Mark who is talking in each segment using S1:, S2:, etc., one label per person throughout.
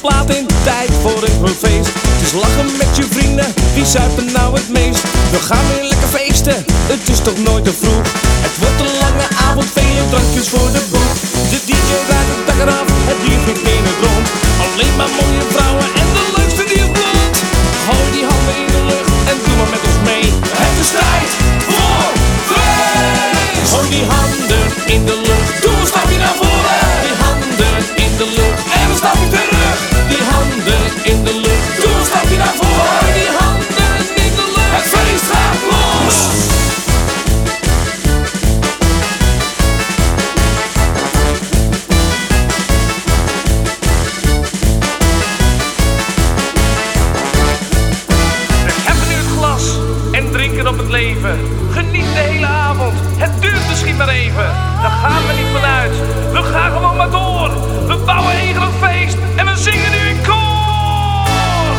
S1: plaat in, tijd voor een feest. Het is lachen met je vrienden, wie zuipen nou het meest? We gaan weer lekker feesten, het is toch nooit te vroeg? Het wordt een lange avond, vele drankjes voor de boeg. De DJ rijdt het dak eraf, het bier vliegt in het rond. Alleen maar mooie vrouwen en de leukste die op blond. Gooi die handen in de lucht en doe maar met ons mee. Het is tijd voor feest! Gooi die handen in de lucht, doe een stapje naar voren. Die handen in de lucht en een stapje terug. Die handen in de lucht, doe een stapje naar voren. Gooi die handen in de lucht, het feest gaat los!
S2: Hebben nu het glas en drinken op het leven. Geniet de hele avond, het duurt misschien maar even. Daar gaan we niet vanuit, we gaan gewoon maar door. We bouwen een groot feest en we zingen nu in koor.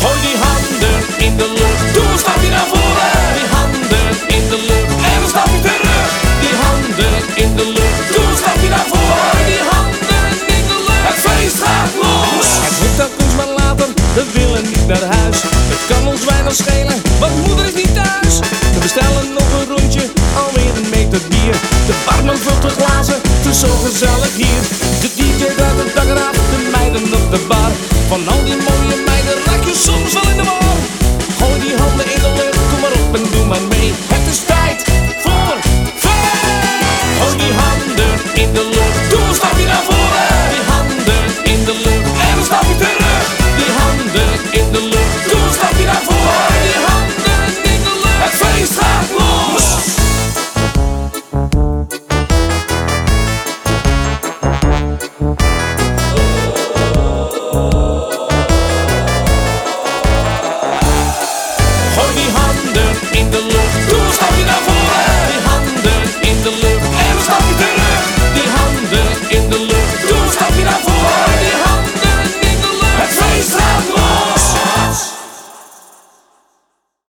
S1: Gooi die handen in de lucht, doe een stapje naar voren. Die handen in de lucht en een stapje terug. Die handen in de lucht, doe een stapje naar voren. Gooi die handen in de lucht, het feest gaat los. Het moet dat ons maar later, we willen niet naar huis. Het kan ons weinig schelen, want moeder is niet thuis. We bestellen nog een rondje, alweer een meter bier. De barman vult de glazen, het is zo gezellig hier. De DJ gaat het dak eraf, de meiden op de bar. Van al die mooie meiden raak je soms